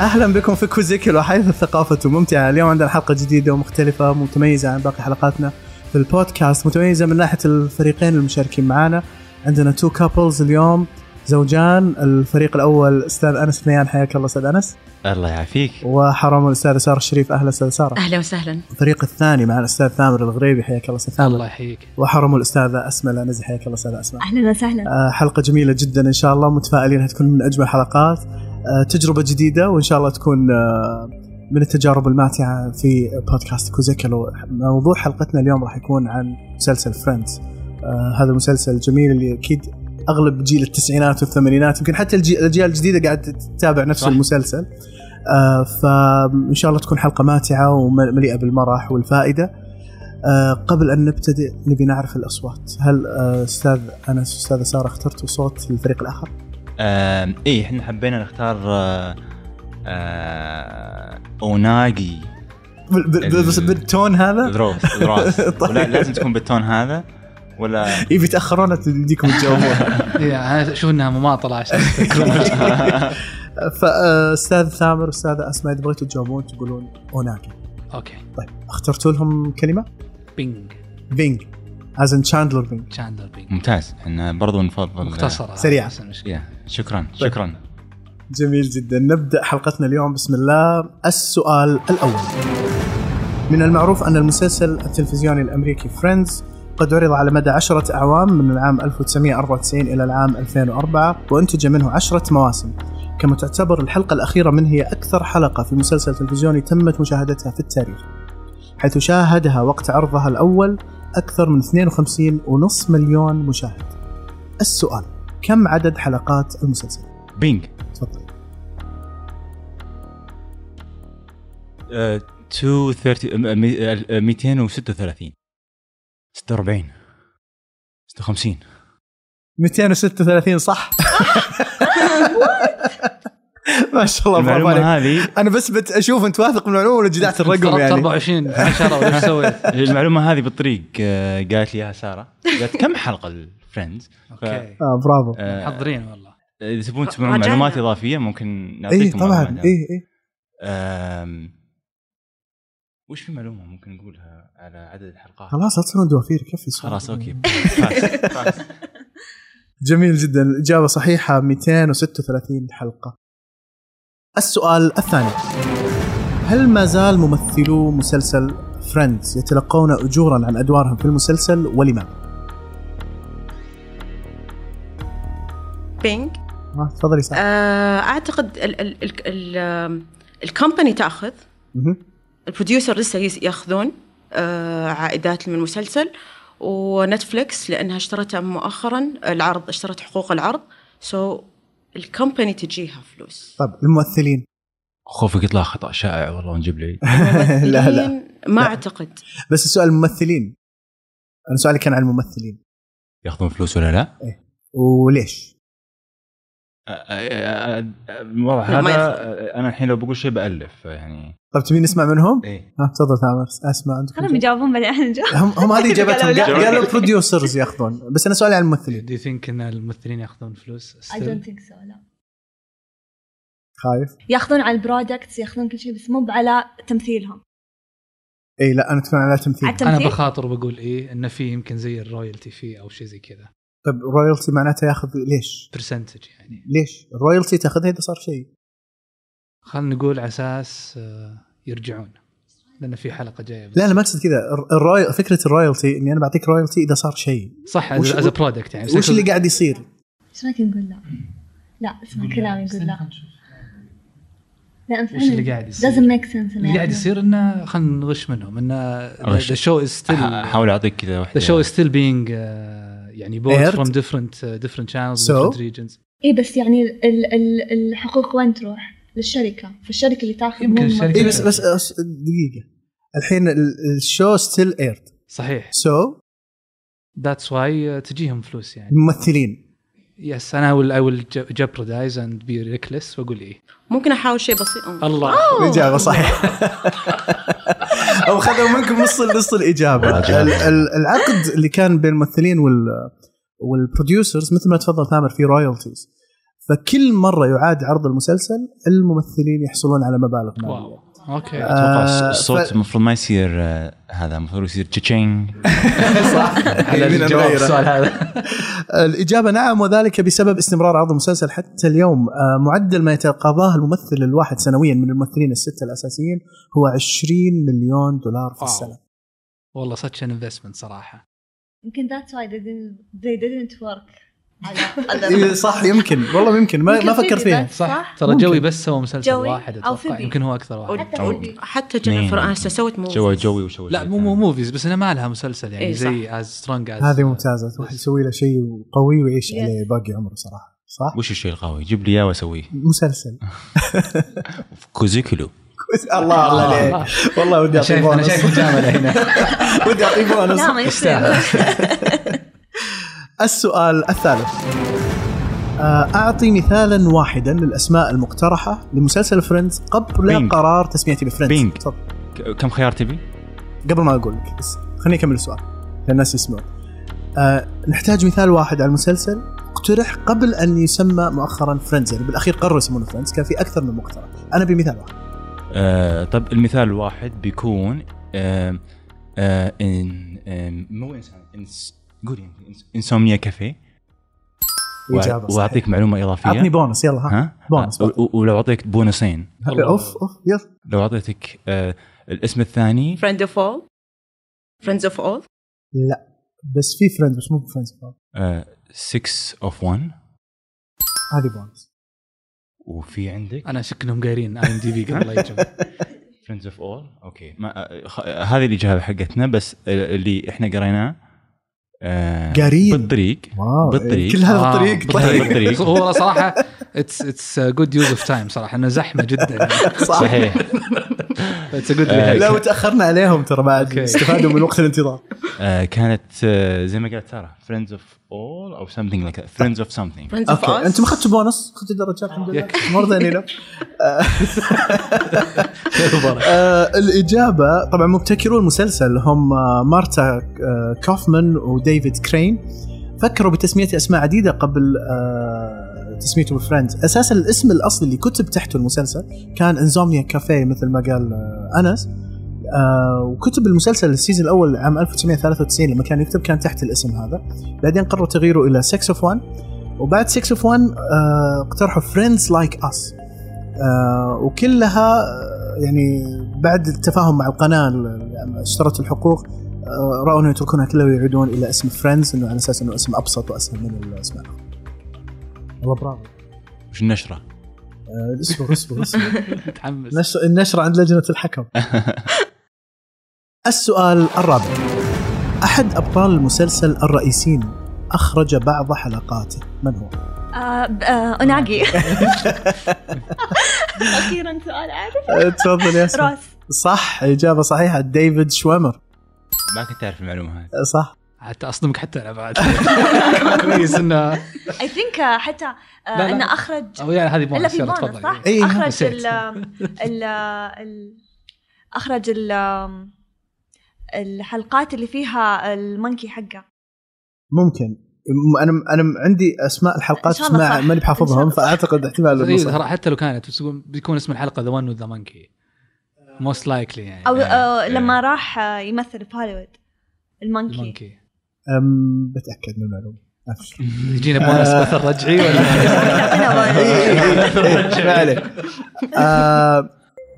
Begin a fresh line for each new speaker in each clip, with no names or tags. اهلا بكم في كوزيكيلو حيث الثقافه ممتعه اليوم عندنا حلقه جديده ومختلفه متميزه عن باقي حلقاتنا في البودكاست متميزه من ناحيه الفريقين المشاركين معنا عندنا تو كابلز اليوم زوجان الفريق الاول استاذ انس ثنيان حياك الله استاذ انس
الله يعافيك
وحرام الاستاذ ساره الشريف اهلا استاذ ساره
اهلا وسهلا
الفريق الثاني مع الاستاذ ثامر الغريبي حياك الله استاذ ثامر
الله يحييك
وحرم الاستاذه اسماء العنزي حياك الله استاذه اسماء
اهلا وسهلا
آه، حلقة جميلة جدا ان شاء الله متفائلين هتكون من اجمل حلقات آه، تجربة جديدة وان شاء الله تكون آه، من التجارب الماتعة في بودكاست كوزيكلو موضوع حلقتنا اليوم راح يكون عن مسلسل فريندز هذا المسلسل الجميل اللي اكيد اغلب جيل التسعينات والثمانينات يمكن حتى الجي- الاجيال الجديدة قاعد تتابع نفس
صح.
المسلسل آه، فان شاء الله تكون حلقة ماتعة ومليئة بالمرح والفائدة آه، قبل ان نبتدئ نبي نعرف الاصوات هل آه، استاذ انس استاذه ساره اخترتوا صوت للفريق الاخر
آم، ايه احنا حبينا نختار آه، آه، اوناجي
بال- بال-
ال-
بس بالتون هذا
دروس دروس
طيب.
ولا لازم تكون بالتون هذا ولا
إيه بيتاخرون تديكم تجاوبون
إيه، انا اشوف انها مماطله عشان
فاستاذ آه، ثامر استاذه اسماء اذا بغيتوا تجاوبون تقولون اوناكي
اوكي
طيب اخترتوا لهم كلمه
بينج
بينج از ان تشاندلر بينج
تشاندلر بينج
ممتاز احنا برضو نفضل آه،
مختصره
سريعة.
بس المشكلة.
يا شكرا
طيب.
شكرا
جميل جدا نبدا حلقتنا اليوم بسم الله السؤال الاول من المعروف ان المسلسل التلفزيوني الامريكي فريندز قد عرض على مدى عشرة أعوام من العام 1994 إلى العام 2004 وأنتج منه عشرة مواسم كما تعتبر الحلقة الأخيرة منه هي أكثر حلقة في مسلسل تلفزيوني تمت مشاهدتها في التاريخ حيث شاهدها وقت عرضها الأول أكثر من 52.5 مليون مشاهد السؤال كم عدد حلقات المسلسل؟
بينج
تفضل
آه، 230 آه، مي- آه، 236 46 56
236 صح ما شاء الله برافو عليك
المعلومة هذه
انا بس بت- اشوف انت واثق من المعلومه ولا جدعت الرقم
افترضت
يعني
24 10 وش سويت؟
المعلومة هذه بالطريق آه، قالت لي يا سارة قالت كم حلقة الفريندز
اوكي
آه برافو
محضرين والله
اذا تبون تسمعون
راجعنا.
معلومات اضافيه ممكن
اي
نعطيكم
طبعا
معلومات.
اي اي
أم، وش في معلومه ممكن نقولها على عدد الحلقات؟
خلاص لا تصيرون دوافير كفي سؤال.
خلاص اوكي فاس، فاس.
جميل جدا الاجابه صحيحه 236 حلقه السؤال الثاني هل ما زال ممثلو مسلسل فريندز يتلقون اجورا عن ادوارهم في المسلسل ولماذا؟
بينج
آه، تفضلي سعد
آه، اعتقد ال- ال- ال- ال- آم، الكومباني تاخذ
مهم.
البروديوسر لسه يس- ياخذون آه، عائدات من المسلسل ونتفلكس لانها اشترتها مؤخرا العرض اشترت حقوق العرض سو الكومباني تجيها فلوس
طيب الممثلين
خوفك يطلع خطا شائع والله ونجيب لي
لا لا
ممثلين ما
لا.
اعتقد
بس السؤال الممثلين انا سؤالي كان عن الممثلين
ياخذون فلوس ولا لا؟
وليش؟
أ- أ- أ- الوضع
لا، ما
هذا انا الحين لو بقول شيء بالف يعني
طب طيب تبين نسمع منهم؟
ايه
ها تفضل ثامر اسمع عندكم
خلهم يجاوبون بعدين احنا نجاوب
هم هم هذه اجابتهم
قالوا
لا.
قالوا بروديوسرز ياخذون بس انا سؤالي عن الممثلين
دو يو ثينك ان الممثلين ياخذون فلوس
I don't think so لا
خايف؟
ياخذون على البرودكتس ياخذون كل شيء بس مو على تمثيلهم
اي لا انا اتكلم على تمثيل
على
انا
التمثيل
بخاطر بقول ايه انه في يمكن زي الرويالتي فيه او شيء زي كذا
طب رويالتي طيب معناته ياخذ ليش؟
برسنتج يعني
ليش؟ الرويالتي تاخذها اذا صار شيء
خلينا نقول على اساس آه، يرجعون لان في حلقه جايه
لا انا ما اقصد كذا الروي... فكره الرويالتي اني انا بعطيك رويالتي اذا صار شيء
صح
وش-
از برودكت يعني بس
وش
أقصد-
اللي قاعد يصير؟
ايش رايك نقول لا؟ لا اسمع كلامي نقول لا لان
وش اللي
فعلا
قاعد يصير؟
doesn't make sense
اللي
نعم.
قاعد يصير انه خلينا نغش منهم انه
غش.
ذا شو از ستيل
احاول اعطيك كذا واحده
ذا شو از ستيل بينج uh, يعني بوت
Aired.
فروم ديفرنت ديفرنت
So?
شانلز ديفرنت ريجنز
اي بس يعني ال- ال- الحقوق وين تروح؟ للشركه فالشركه اللي تاخذ
يمكن
من-
الشركة-
اي إيه، بس بس أس- دقيقه الحين ال- الشو ستيل ايرد
صحيح
سو
ذاتس واي تجيهم فلوس يعني
الممثلين
يس انا اي ويل جبردايز اند بي ريكلس واقول ايه
ممكن احاول شيء بسيط
الله
الاجابه صحيح او خذوا منكم نص نص الاجابه ال- ال- العقد اللي كان بين الممثلين وال والبروديوسرز مثل ما تفضل تامر في رويالتيز فكل مره يعاد عرض المسلسل الممثلين يحصلون على مبالغ ماليه
واو اوكي
اتوقع
آه،
الص- الصوت
ف-
المفروض ما يصير آه، هذا المفروض يصير تشين
على
يمين
الجواب
نغيره.
السؤال هذا
الإجابة نعم وذلك بسبب استمرار عرض المسلسل حتى اليوم آه، معدل ما يتقاضاه الممثل الواحد سنويا من الممثلين الستة الأساسيين هو 20 مليون دولار في
واو.
السنة
والله such an investment صراحه
يمكن that's why they didn't, they didn't work على
إيه، صح يمكن والله يمكن ما, ما
يمكن
فكرت
في
فيها
ذات-
صح
صح.
ترى
ممكن.
جوي بس سوى مسلسل
جوي
واحد
أو
اتوقع
فيبي.
يمكن هو اكثر واحد
حتى
أو-
فيبي.
حتى جينيفر انستون سوت
جوي
موفي
جوي وشوي
لا مو مو موفيز بس انها ما لها مسلسل يعني
إيه، صح.
زي از سترونج از
هذه ممتازة واحد يسوي له شيء قوي ويعيش
Yes.
عليه باقي عمره صراحة صح؟
وش الشيء القوي؟ جيب لي اياه واسويه
مسلسل
كوزيكولو
الله الله عليك والله ودي اعطيه
انا شايف انا
بونص
شايف مجامله هنا
ودي اعطيه بونص
نعم.
لا ما يصير
السؤال الثالث آه، أعطي مثالا واحدا للأسماء المقترحة لمسلسل فريندز قبل
بينج.
قرار تسميتي بفريندز
بينج.
تفضل.
ك- كم خيار تبي؟
قبل ما أقول لك بس خليني أكمل السؤال عشان الناس يسمعون آه، نحتاج مثال واحد على المسلسل اقترح قبل أن يسمى مؤخرا فريندز يعني بالأخير قرروا يسمونه فريندز كان في أكثر من مقترح أنا بمثال واحد
آه طب المثال الواحد بيكون آه آه إن آم، مو انسان إنس قولي إنس- انسومنيا كافيه وأع-
إجابة صحيحة.
واعطيك معلومه اضافيه
أعطني بونص يلا ها
ها؟
بونص.
آه، و- ولو اعطيك بونصين
والله.
أوف أوف يلا
لو اعطيتك آه الاسم الثاني
فريند اوف اول فريندز اوف اول
لا بس في فريندز بس مو فريندز
آه، 6 اوف 1
هذه بونص
وفي عندك
انا شك انهم قايرين اي ام دي بي قبل لا يجوا
فريندز اوف اول اوكي ما آه، خ- آه، هذه الاجابه حقتنا بس آه، اللي احنا قريناه آه،
قارين.
بالطريق
واو
بالطريق.
كل هذا
آه،
الطريق
بالطريق.
طيب.
بالطريق.
هو صراحه اتس اتس جود يوز اوف تايم صراحه انه زحمه جدا
صح
صحيح
اتس جود
آه،
لو تاخرنا عليهم ترى بعد
أوكي.
استفادوا من وقت الانتظار
آه، كانت آه، زي ما قالت ترى فريندز اوف اول او something like that فريندز اوف something
فريندز اوف
اوكي
اول
انتم ما اخذتوا بونص اخذتوا درجات الحمد لله
يكفي.
مره ثانيه لا. آه، الاجابه طبعا مبتكرو المسلسل هم آه، مارتا آه، كوفمان وديفيد كرين فكروا بتسميه اسماء عديده قبل آه، تسميته بفريندز اساسا الاسم الاصلي اللي كتب تحته المسلسل كان انزومنيا كافيه مثل ما قال آه، انس آه، وكتب المسلسل السيزون الاول عام 1993 لما كان يكتب كان تحت الاسم هذا بعدين قرروا تغييره الى 6 اوف 1 وبعد 6 اوف 1 آه، اقترحوا فريندز لايك اس وكلها آه، يعني بعد التفاهم مع القناه اللي اشترت الحقوق آه، راوا انه يتركونها كلها ويعيدون الى اسم فريندز انه على اساس انه اسم ابسط واسهل من الاسماء والله برافو
وش النشره؟
آه، اصبر اصبر اصبر
متحمس
نشر النشرة عند لجنة الحكم السؤال الرابع أحد أبطال المسلسل الرئيسين أخرج بعض حلقاته من هو؟
آه، ب- آه، اوناجي اخيرا سؤال اعرف
تفضل يا
روس
صح إجابة صحيحة ديفيد شوامر
ما كنت اعرف المعلومه هذه
صح
حتى اصدمك حتى انا بعد كويس انه
اي ثينك حتى آه،
لا، لا.
انه اخرج
او يعني هذه
الا
بونس
في
يلا
بونس صح؟
تفضل
إيه،
اخرج
نسيت.
ال ال ال- اخرج ال الحلقات اللي فيها المونكي حقه
ممكن م- أنا أنا عندي أسماء الحلقات
إن شاء الله
ما
صح.
ماني بحافظهم
إن شاء الله.
فأعتقد احتمال إنه
إيه،
صح.
ترى حتى لو كانت بس بيكون اسم الحلقه ذا ون وذ ذا مونكي موست لايكلي يعني
او آه،
إيه.
لما راح آه، يمثل في هوليوود المونكي
المونكي
أم، بتأكد من المعلومة أبشر.
يجينا بونس مثل رجعي ولا
يعطينا
إيه، إيه، إيه، ما عليك. آه،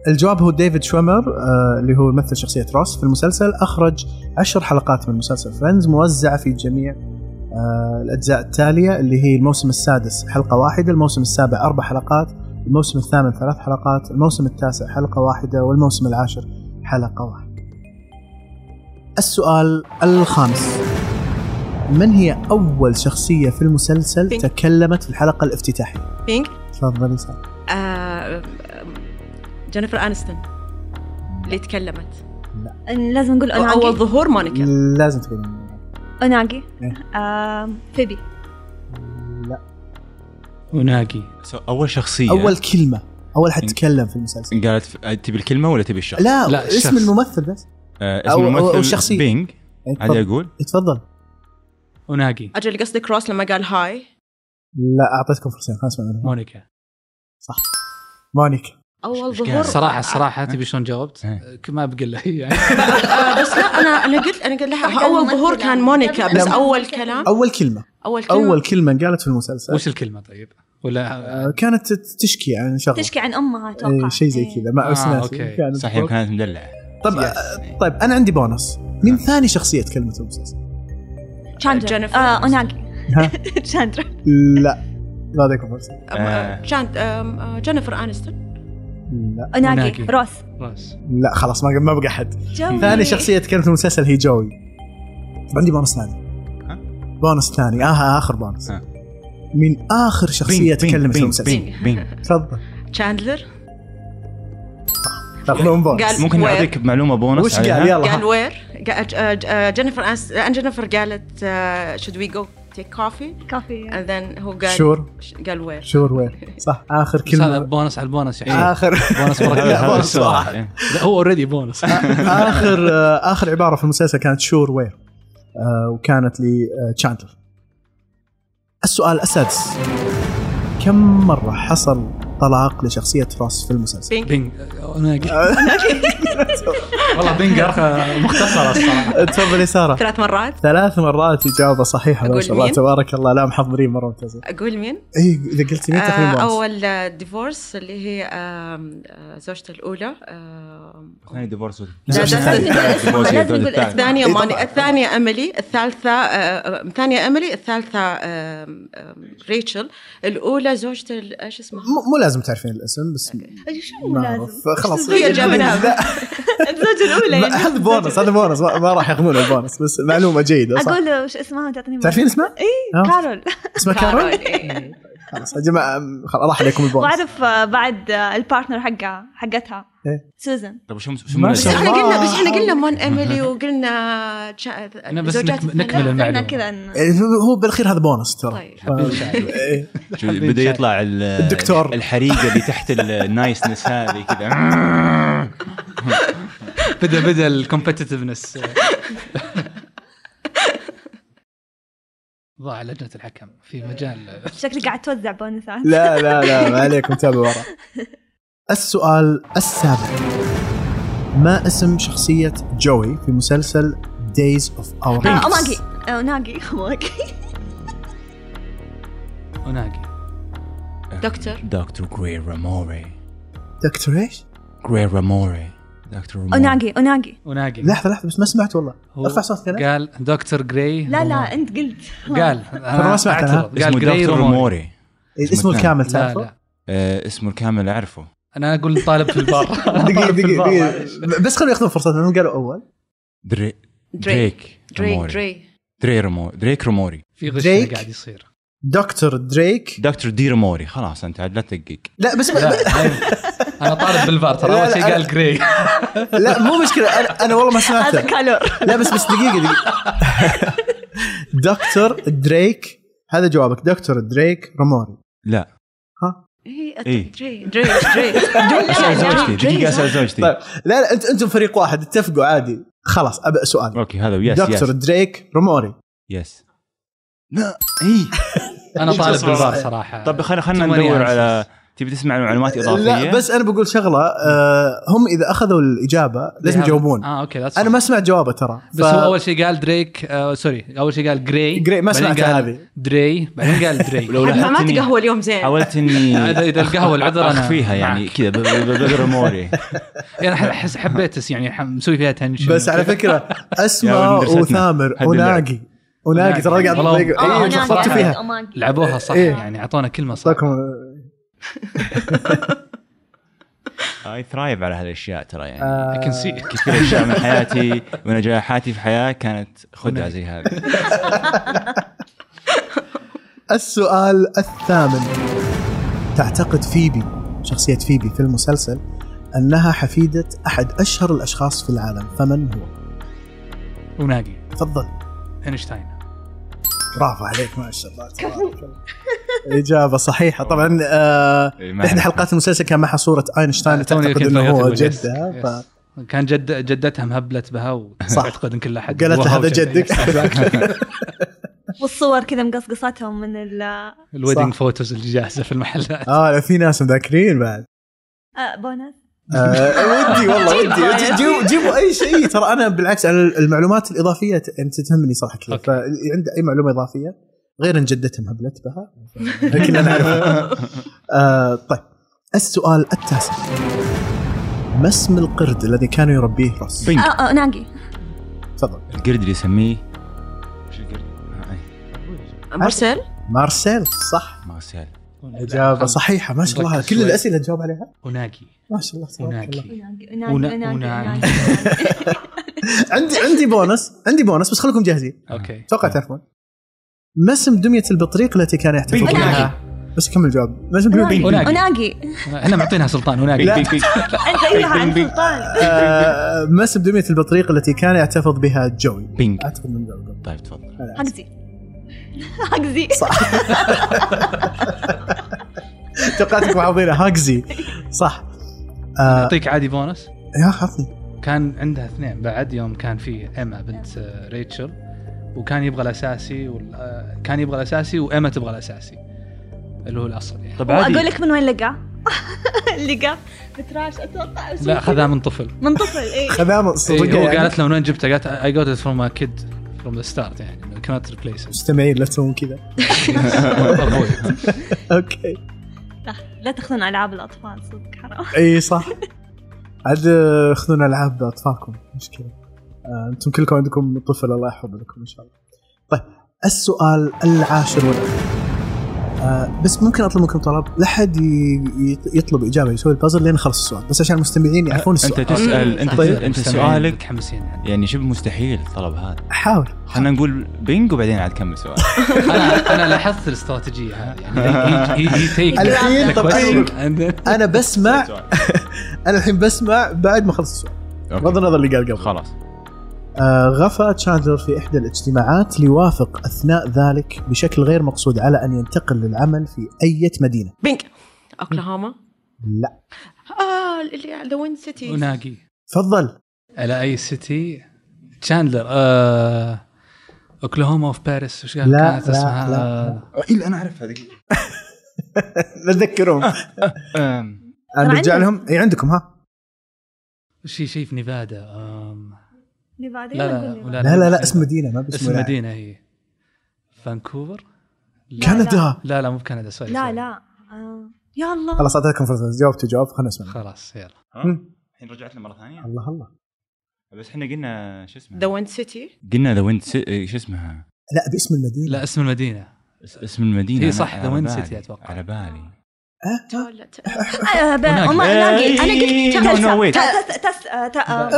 الجواب هو ديفيد شومر آه، اللي هو يمثل شخصية روس في المسلسل أخرج عشر حلقات من مسلسل فريندز موزعة في جميع آه، الأجزاء التالية اللي هي الموسم السادس حلقة واحدة الموسم السابع أربع حلقات الموسم الثامن ثلاث حلقات الموسم التاسع حلقة واحدة والموسم العاشر حلقة واحدة السؤال الخامس من هي أول شخصية في المسلسل
بينك.
تكلمت في الحلقة الافتتاحية؟
بينك
تفضلي سارة
آه، جينيفر انستون اللي تكلمت
أنا لازم نقول
اول
اوناجي
ظهور مونيكا
لازم تقولي
اوناجي
إيه.
آم، آه، فيبي
لا
وناقي
سو اول شخصيه
اول كلمه اول حد
إن-
تكلم في المسلسل
قالت ف- تبي الكلمه ولا تبي الشخص؟
لا,
لا،
اسم
الشخص.
الممثل بس
آه اسم
أو- أو- أو
الممثل
شخصية.
بينج عادي
تفضل
اقول
تفضل
وناقي
اجل قصدك روس لما قال هاي
لا اعطيتكم فرصه خلاص ما
مونيكا
مونيكا
اول
إيش
ظهور
قال؟
صراحه الصراحه تبي شلون جاوبت؟
إيه.
ما بقى له يعني
آه، بس لا انا انا قلت انا قلت لها اول ظهور كان مونيكا بس
لا.
اول كلام
اول كلمه
اول كلام
اول كلمه انقالت في المسلسل
وش الكلمه طيب؟ ولا
آه، كانت تت- تشكي عن شغله
تشكي عن امها اتوقع
إيه، شيء زي
إيه.
كذا ما
آه،
بس ناسي.
أوكي.
كانت-
صحيح كانت مدلعه
طب آه، طيب انا عندي بونص
آه.
مين ثاني شخصيه تكلمت في المسلسل؟
تشاندرا
جينيفر.
آه، اوناجي
ها؟
تشاندرا
لا ما اعطيكم فرصه
آه، جان- آم، آه، جينيفر انستون
لا
اوناجي
أوناجي.
روس
راس
لا خلاص ما ما بقى احد
جوي.
ثاني شخصيه تكلمت في المسلسل هي جوي طب عندي بونص ثاني
ها؟
بونص ثاني اه اخر بونص
ها.
مين اخر شخصيه تكلمت في المسلسل
بينج بينج
تفضل
تشاندلر
تاخذون بونص
قال
ممكن
وير.
اعطيك معلومه بونص
وش قال يلا
قال
ها.
وير قال- آه، ج- آه، جينيفر أنس- آه، جينيفر قالت آه، شود وي جو تيك كوفي
كافي
and then هو قال
شور
ش- قال وير
شور وين صح اخر
بس هذا
كلمه
بونص على البونص يعني
اخر
بونص
آه. لا،
مرة
هذا
بونص
السؤال.
واحد.
إيه.
لا، هو اوريدي بونص
اخر آه، اخر عباره في المسلسل كانت شور وير آه، وكانت لتشاندلر السؤال السادس كم مره حصل طلاق لشخصيه روس في المسلسل؟
بينج اوناقي
آه.
والله بينج عرفة مختصره الصراحه
تفضلي ساره
ثلاث مرات
ثلاث مرات اجابه صحيحه ما
أقول
شاء الله
مين؟
تبارك الله لا محضرين مره ممتازه
اقول مين؟
اي اذا قلت مين تقريبا
آه،
بونص.
اول ديفورس اللي هي آم، آه، زوجته الاولى آم،
ثاني ديفورس ولا-
لا،
زوجته
لا،
الثانية.
لا، اسمها،
ديفورس،
لازم نقول
الثالث.
أسماء.
الثانية
إيه،
ماني
طبعاً.
الثانية أملي الثالثة آه، الثانية أملي الثالثة آم، آم، ريتشل الأولى زوجته ال- ايش اسمها؟
مو مو لازم تعرفين الاسم بس
شو
ما
لازم
اعرف خلاص
هي جابناها.
لا،
الزوجة الأولى
ما-
يعني
هذا بونص هذا بونص ما ما راح ياخذون البونص بس معلومه جيده صح
أقول وش اسمها وتعطيني
تعرفين اسمها؟
إي
ها؟
كارول
اسمها كارول؟
إيه.
خلاص يا جماعه م- خلاص راح عليكم البونص
وأعرف آه، بعد آه، البارتنر حقها حقتها
إيه.
سوزن
طب شو
ما
شو
بس
شاء
احنا
الله.
قلنا بس احنا قلنا مون أملي وقلنا آه،
أنا بس
زوجات
نكم-
الثانية.
نكمل
إحنا
المعلومه
كذا ن-
إيه، هو بالاخير هذا بونص ترى
طيب
إيه.
بدا يطلع ال-
الدكتور.
الحريقه اللي تحت النايسنس هذه كذا
بدا بدا الكومبتتفنس ضاع لجنه الحكم في مجال
شكلي قاعد توزع آه، بونسات
لا لا لا ما عليكم تابعوا ورا السؤال السابع ما اسم شخصية جوي في مسلسل Days of Our
آه،
Lives؟
أوماجي آه، ناجي أوماجي
اوناقي
دكتور
دكتور جري راموري
دكتور ايش؟
جري راموري دكتور راموري
أوناجي أوناجي
اوناقي
لحظة لحظة بس ما سمعت والله
هو
ارفع صوتك أنا.
قال دكتور جراي
لا لا
روموري.
أنت قلت
قال
أنا ما سمعت أنا.
أعترض. قال
اسمه
جراي
دكتور
روموري
راموري
إيه، اسمه الكامل
لا
تعرفه؟
لا
آه، اسمه الكامل اعرفه
انا اقول طالب في البار
دقيقة
طالب في
دقيقة
البار، معلش.
دقيقة بس خلوا ياخذون فرصتهم لأنهم قالوا أول
دري دريك
دري
راموري.
دري
دري راموري دريك راموري
في
دريك.
غش قاعد يصير
دكتور دريك
دكتور دي راموري خلاص انت عاد لا تدقق
لا بس
لا انا طالب بالبار ترى
لا،
اول
لا،
شيء
أنا-
قال جراي
لا مو مشكلة أنا, أنا والله ما سمعته
هذا كالور
لا بس بس دقيقة دقيقة دكتور دريك هذا جوابك دكتور دريك راموري
لا
إيه،
إيه.
دري دري دري
اسال زوجتي دقيقه اسال
طيب
زوجتي
لا لا انت انتم فريق واحد اتفقوا عادي خلاص ابى سؤال
اوكي هذا يس
دكتور
يس
دريك راموري
يس لا اي
انا طالب
صراحة.
بالبار صراحه
طب خلينا خلينا
Too many
ندور
answers.
على تبي تسمع معلومات اضافيه
لا بس انا بقول شغله آه هم اذا اخذوا الاجابه لازم يجاوبون
اه اوكي that's
انا ما
fine.
سمعت جوابه ترى
بس هو اول شيء قال دريك آه سوري اول شيء قال جراي
Grey، ما
بعدين
سمعت
قال
هذه.
دري بعدين قال دري
ولو
ما ما
لاحظت إني-
تقهوى اليوم زين
حاولت اني
إذا- إذا القهوة العذر أنا
اخفيها يعني كذا ب- ب- بقرا موري
يعني انا احس حبيت بس يعني ح- مسوي فيها تنشن
بس على فكره
يا
اسماء
ولد درستنا.
وثامر
حد
وناقي وناقي ترى قاعد
والله.
تضيق-
آه،
إيه،
أنا
صرفتوا
قاعد-
فيها
لعبوها صح
إيه.
يعني اعطونا كلمه صح
أعطاكم-
اي ثرايف على هالاشياء ترى يعني
آه،
I can see it.
كثير اشياء من حياتي ونجاحاتي في حياه كانت خدعه زي هذه
السؤال الثامن تعتقد فيبي شخصية فيبي في المسلسل أنها حفيدة أحد أشهر الأشخاص في العالم فمن هو؟
وناقي
تفضل
اينشتاين
برافو عليك ما شاء الله تبارك الله. إجابة صحيحة طبعا آه
ما
إحدى
أعرف.
حلقات المسلسل كان معها صورة أينشتاين
آه، توني
تعتقد
كنت
أنه هو
بقول يس،
جدها
يس.
ف-
كان جد جدتها مهبلت بها وتعتقد ان كل احد
قالت له
وهو
هذا
جده.
جدك
والصور كذا مقصقصتهم من ال آه،
الويدنج فوتوز اللي جاهزه في المحلات
اه في ناس مذاكرين بعد
بونس
آه، ودي والله ودي جي- جيبوا جيبوا اي شيء ترى انا بالعكس انا المعلومات الاضافيه ت- يعني انت تهمني صراحه كثير
أوكي.
فاللي عنده اي معلومه اضافيه غير ان جدتها مهبلت بها لكن انا اعرفها آه، طيب السؤال التاسع ما اسم القرد الذي كان يربيه روس؟
بينك
آه، آه، ناقي
تفضل
القرد اللي يسميه شو القرد؟ آه، أي.
مرسل
مارسيل صح
ما سهل
اجابه صحيحه ما شاء الله
ركز
كل
شوي.
الاسئله تجاوب عليها
وناقي
ما شاء الله تبارك الله
وناقي
وناقي
ونا-
وناقي
وناقي.
وناقي
عندي عندي بونس عندي بونس بس خليكم جاهزين
اوكي
اتوقع تعرفون ما اسم دميه البطريق التي كان يحتفظ
بينك.
بها؟ بس كمل الجواب ما اسم دميه البطريق؟
وناقي.
وناقي
احنا معطينها سلطان هناك
لا.
انت
أيوة،
ايوه عن سلطان
آه، ما اسم دميه البطريق التي كان يحتفظ بها جوي؟
بينك
اعتقد من الجواب
طيب تفضل
حقزي حقزي
توقعتك محافظينها هاكزي صح آه
اعطيك عادي بونس
يا خفني
كان عندها اثنين بعد يوم كان في ايما بنت آه، ريتشل وكان يبغى الاساسي وال- آه، كان يبغى الاساسي وايما تبغى الاساسي اللي هو الاصل يعني
طب طيب، عادي
واقول لك من وين لقاه لقاه بتراش اتوقع أو شيء
لا خذها من طفل
من طفل اي
خذام
إيه،
صدق
هو
يعني.
قالت له من وين جبتها؟ قالت اي جوت ات فروم كيد فروم ذا ستارت يعني كانت ريبليس
مستمعين لا تسوون كذا اوكي
لا تاخذون العاب الاطفال صدق حرام
اي صح عاد آه، خذونا العاب اطفالكم مشكله آه، انتم كلكم عندكم طفل الله يحفظ لكم ان شاء الله طيب السؤال العاشر والاخير آه بس ممكن اطلب منكم طلب لا حد ي- يط- يطلب اجابه يسوي البازل لين خلص السؤال بس عشان المستمعين يعرفون
انت
السؤال
تسال انت
طيب،
انت سؤالك
متحمسين يعني
يعني شبه مستحيل الطلب هذا
حاول
خلينا نقول بينج وبعدين عاد كمل سؤال
انا انا لاحظت الاستراتيجيه هذه يعني هي تيك
الحين طبيعي. انا بسمع
سؤال.
انا الحين بسمع بعد ما خلص السؤال
أوكي.
بغض النظر اللي قال قبل
خلاص
آه غفى تشاندلر في احدى الاجتماعات ليوافق اثناء ذلك بشكل غير مقصود على ان ينتقل للعمل في اي مدينه
بينك اوكلاهوما
لا
اه اللي ذا وين سيتي
وناقي
تفضل
على اي سيتي تشاندلر آه... اوكلاهوما اوف باريس وش قال
لا،
كانت
لا،
اسمها آه،
آه، لا،
الا انا اعرف هذه
آه،
نذكرهم انا
عندهم.
برجع آه، لهم اي عندكم ها
شيء شيء في نيفادا آم...
اللي بعدين
لا لا
نقول
لا إيه.
لي.
لا لا لا اسم مدينه ما باسم
اسم
ولاية.
مدينه هي فانكوفر لا.
كندا
لا لا مو بكندا سوري
لا
سوري.
لا آه. يا الله
خلاص اعطيتكم فرصه جاوبتوا جواب خلنا نسمع
خلاص يلا
الحين رجعت لنا مره ثانيه
الله الله
بس احنا قلنا شو اسمها
ذا وين سيتي
قلنا ذا ويند شو اسمها
لا باسم المدينه
لا اسم المدينه
اس- اسم المدينه
هي
أنا
صح،
على
The Wind
بالي-
City أتوقع.
على بالي
آه، ب-
وناقي.
أم- ناقي انا
إيه،
قلت
no, no, wait.
تلسة. ت- ت- تس آه، ت- آه.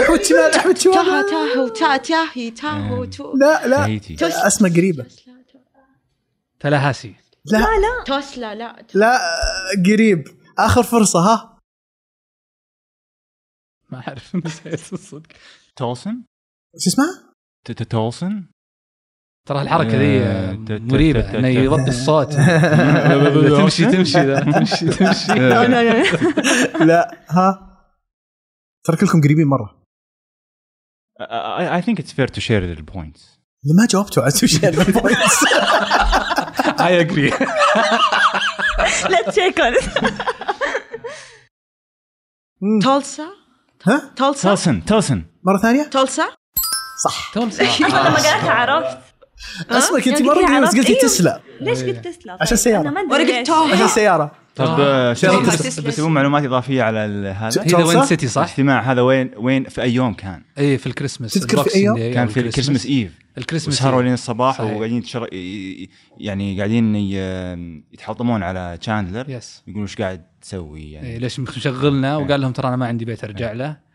احمد شمال احمد
تاها
شمال
تاهو تا تاهي تاهو
آه.
تو
لا لا
تهيتي
توس
اسمه قريبه
توسلا تو-
تلاهاسي
لا
توسلا لا
لا قريب اخر فرصه ها
ما اعرف نسيت الصدق
تولسون
شو اسمها؟
ت- ت- تولسون
ترى
آه، ت-
الحركه
ت-
ذي
ت- ت-
مريبه
ت-
انه
ت-
يغطي الصوت تمشي تمشي ذا، تمشي
آه.
تمشي
لا، لا، لا.
لا ها ترى كلكم قريبين مره
اي ثينك اتس فير تو شير ذا بوينتس
يعني
اللي ما جاوبتوا على سوشيال
I agree.
Let's check on it.
تولسا
ها
تولسا
تلسن تلسن
آه.
مره ثانيه
تولسا
تولسا
أنا لما قرأتها عرفت
اسمك انت
يعني
مره
كذا
قريبة، بس
عرفت.
قلتي
أيوه.
تسلا
آه.
ليش قلت تسلا؟ طيب؟
عشان سيارة.
أنا ما أدري
ورقة
ليش.
توم.
عشان سياره
طب
آه.
آه، شباب،
تلسن.
بس- بس تبون معلومات اضافيه على ال- هذا
هذا وين
تولسا؟
سيتي صح؟
الاجتماع هذا وين وين في اي يوم كان؟
اي في الكريسماس
تذكر في
Boxing
أي يوم؟
Day أو
كان في الكريسماس ايف
الكريسماس إيه.
وسهروا لين الصباح
صحيح.
وقاعدين تشر... يعني قاعدين ي- يتحطمون على تشاندلر
يس
يقولون ايش قاعد تسوي يعني
إيه، ليش مشغلنا وقال لهم ترى انا ما عندي بيت ارجع له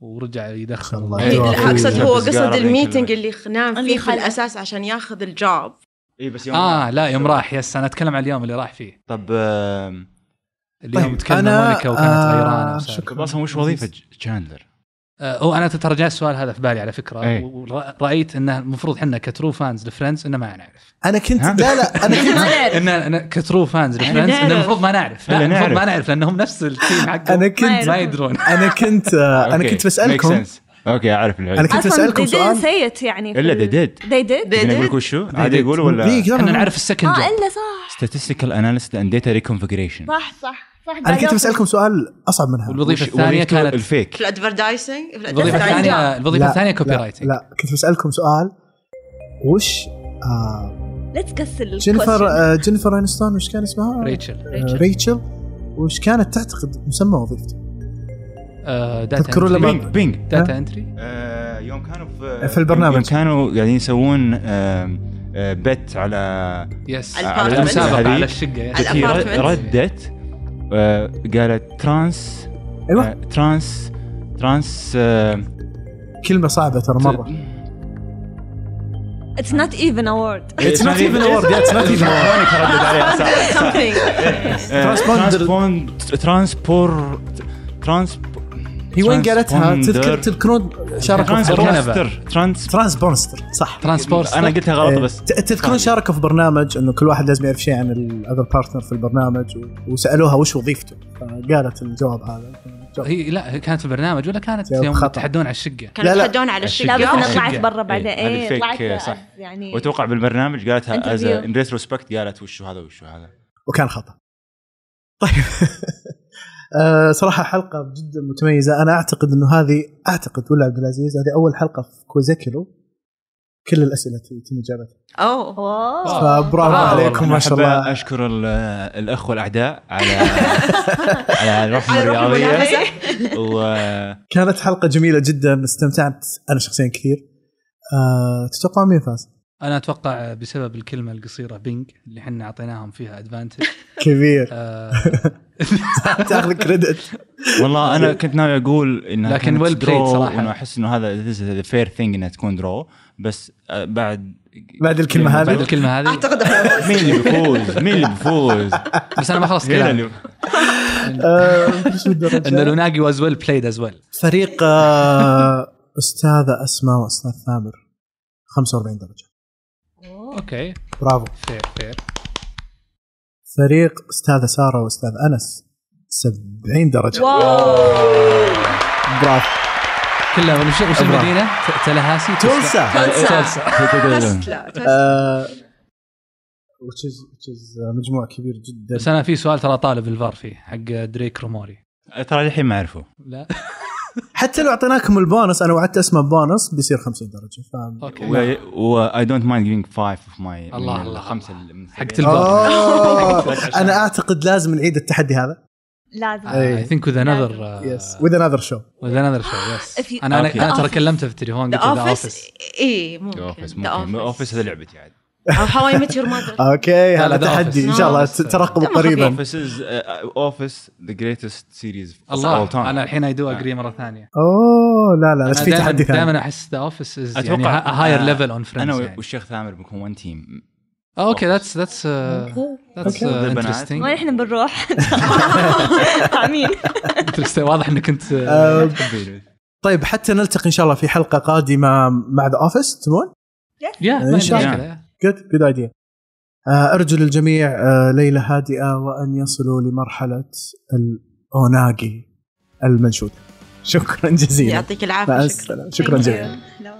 ورجع
إن
يدخل
شاء
إيه.
الله. أيوة.
العكس إيه، هو
بس قارب
قصد
يمكن
الميتنج
لما-
اللي خ- نام
اللي
فيه في
خلع.
الاساس عشان ياخذ الجوب
اي إيه، بس يوم
اه لا يوم راح يس انا اتكلم عن اليوم اللي راح فيه
طب آه، آم،
اللي يوم
طيب،
تكلمنا
أنا-
مونيكا وكانت
آه،
غيرانه وسالفة.
طب اصلا وش وظيفه ج- تشاندلر؟
آه، هو انا ترى جاء السؤال هذا في بالي على فكره
إيه.
ورايت انه المفروض احنا كترو فانز لفريندز انه ما نعرف
انا كنت
ها؟
لا لا انا كنت
إن إن كترو فانز لفريندز
نعرف.
انه المفروض ما نعرف لا
إلا
المفروض
نعرف.
ما نعرف لانهم نفس التيم حقهم
انا
ما
كنت
ما يدرون
انا كنت انا
أوكي.
كنت
Make
بسالكم
sense. اوكي اعرف
انا
العلم
كنت
أصلاً
بسالكم
they didn't
سؤال
say it يعني
الا ذا ديد
they did
They
اقول لك
did.
وشو؟ عادي يقولوا
ليك، لا،
ولا
احنا
لا، لا.
نعرف السكند
اه
آه،
جوب
إلا صح
statistical analysis and data reconfiguration
طيب،
صح صح صح
انا كنت بسالكم سؤال اصعب من هذا
والوظيفه
وش-
الثانيه
وظيفته
كانت
الفيك
في الادفردايسنج في
الوظيفه
الادفردايسنج
الثانيه الوظيفه
لا،
الثانيه كوبي
لا،
رايتنج
لا كنت بسالكم سؤال وش آه
ليتس كسل
جينيفر آه جينيفر انستون وش كان اسمها؟
ريتشل
آه، ريتشل وش كانت تعتقد مسمى وظيفتها؟
Uh,
تذكرون لما-
بينج بينج
داتا انتري
آه، يوم كانوا في
في البرنامج.
يوم كانوا قاعدين يسوون آم، آه، بت على
يس
على
على
الأبارتمنت.
هذه.
المسابقه على يعني. الشقه يس.
على
هي
الأبارتمنت.
رد- ردت آه، قالت ترانس
أيوة.
آه، ترانس ترانس آه،
كلمه صعبه ترى مره
اتس نوت ايفن اوورد
It's not even a word, yeah, it's not even a word.
أنا تردد عليها صح. آه،
Transponder.
transpond- ترانسبور ترانس
هي وين قالتها؟
Transponder.
تذكر تذكرون شاركوا في
Transponder.
برنامج
ترانسبورتر ترانس
ترانسبونستر يعني صح
ترانسبورت
انا قلتها غلط
إيه.
بس طيب.
ت- تذكرون شاركوا في برنامج انه كل واحد لازم يعرف شيء عن الاذر بارتنر في البرنامج و- وسالوها وش وظيفته فقالت الجواب هذا جواب.
هي لا هي كانت في البرنامج ولا كانت
جواب
يوم
خطأ.
يتحدون على الشقه
كانوا
لا، لا.
يتحدون على
الشقة.
لا بس انا
الشقه
طلعت
شقة.
برا بعدين
إيه، هذه
ايه
fake،
طلعت
آه، صح.
آه، يعني
واتوقع بالبرنامج قالتها از
Interview.
ان ريتروسبكت قالت وشو هذا وشو هذا
وكان خطا طيب آه، صراحه حلقه جدا متميزه انا اعتقد انه هذه اعتقد ولا عبد العزيز هذه اول حلقه في كوزيكيلو كل الاسئله يتم اجابتها
اوه
اوه
فبرافو
آه،
عليكم
والله.
ما شاء
أحب
الله
اشكر ال- الاخوه الاعداء على على الرحمه
على روح
الرياضيه
المنافسة.
واتوقع
كانت حلقه جميله جدا استمتعت انا شخصيا كثير آه، تتوقعون مين فاز؟
انا اتوقع بسبب الكلمه القصيره بينج اللي احنا اعطيناهم فيها ادفانتج
كبير
آه
تاخذ كريدت
والله انا كنت ناوي اقول انها
لكن
كانت
well played
draw،
صراحة.
وانه احس انه هذا ذا فير ثينج انها تكون درو بس آه، بعد
بعد الكلمه
بعد
هذه
الكلمه هذه
اعتقد أفوز.
مين اللي بيفوز؟ مين اللي بيفوز؟
بس انا ما خلصت
هنا
كلامي
اللي-
آه، شو الدرجة؟
ان لوناجي واز ويل بلايد از ويل
فريق آه، استاذه اسماء واستاذ ثامر 45 درجه
اوكي
برافو
فير فير
فريق استاذه ساره واستاذ انس 70 درجه برافو
كلها وش وش
أبرا.
المدينه؟ ت- تلهاسي
تولسا
تولسا. لا، تولسا.
آه، وتشز وتشز مجموع كبير جدا
بس انا في سؤال ترى طالب الفار فيه حق دريك روموري
ترى الحين ما اعرفه
لا
حتى لو اعطيناكم البونص انا وعدت اسماء بونص بيصير 50 درجه فاهم
اوكي
واي دونت مايند جيفينج فايف اوف ماي
الله، الله.
خمسه اللي من
حقت
السبعين.
أوه، انا اعتقد آه. لازم نعيد التحدي هذا
لازم
إيه.
اي ثينك وذ انذر uh,
يس وذ انذر شو
وذ انذر شو
If
يس
you-
انا انا
Okay.
أنا ترى كلمته في التليفون
ذا
قلت له
اوفيس
اوفيس
اي
Oh. The
إيه، ممكن Oh,
Office، ممكن اوفيس هذا لعبتي عاد
او هاواي ميت يور
آه،
ماذر
اوكي
لا، آه،
هذا
The
تحدي
Office.
ان شاء الله
No.
ترقبوا
دمه
قريبا
اوفيس از اوفيس ذا جريتست سيريز
الله
يعني
انا الحين اي دو اجري مره ثانيه
اوه لا لا بس في تحدي ثاني
دائما احس ذا اوفيس از يعني
أتوقع-
هاير ليفل اون
انا
فريندز
والشيخ ثامر بنكون ون تيم
اوكي ذاتس ذاتس
البنات.
ذاتس
وين
انترستنج
احنا بنروح طعمين
واضح انك انت
آه، طيب حتى نلتقي ان شاء الله في حلقه قادمه مع ذا اوفيس تبون؟
يا ما
إن شاء
عندي
الله.
مشكلة.
جود جود ايديا ارجو للجميع آه، ليله هادئه وان يصلوا لمرحله الاوناجي المنشود شكرا جزيلا
يعطيك العافيه
مع
شكرا
السلامه شكرا جزيلا
لا والله.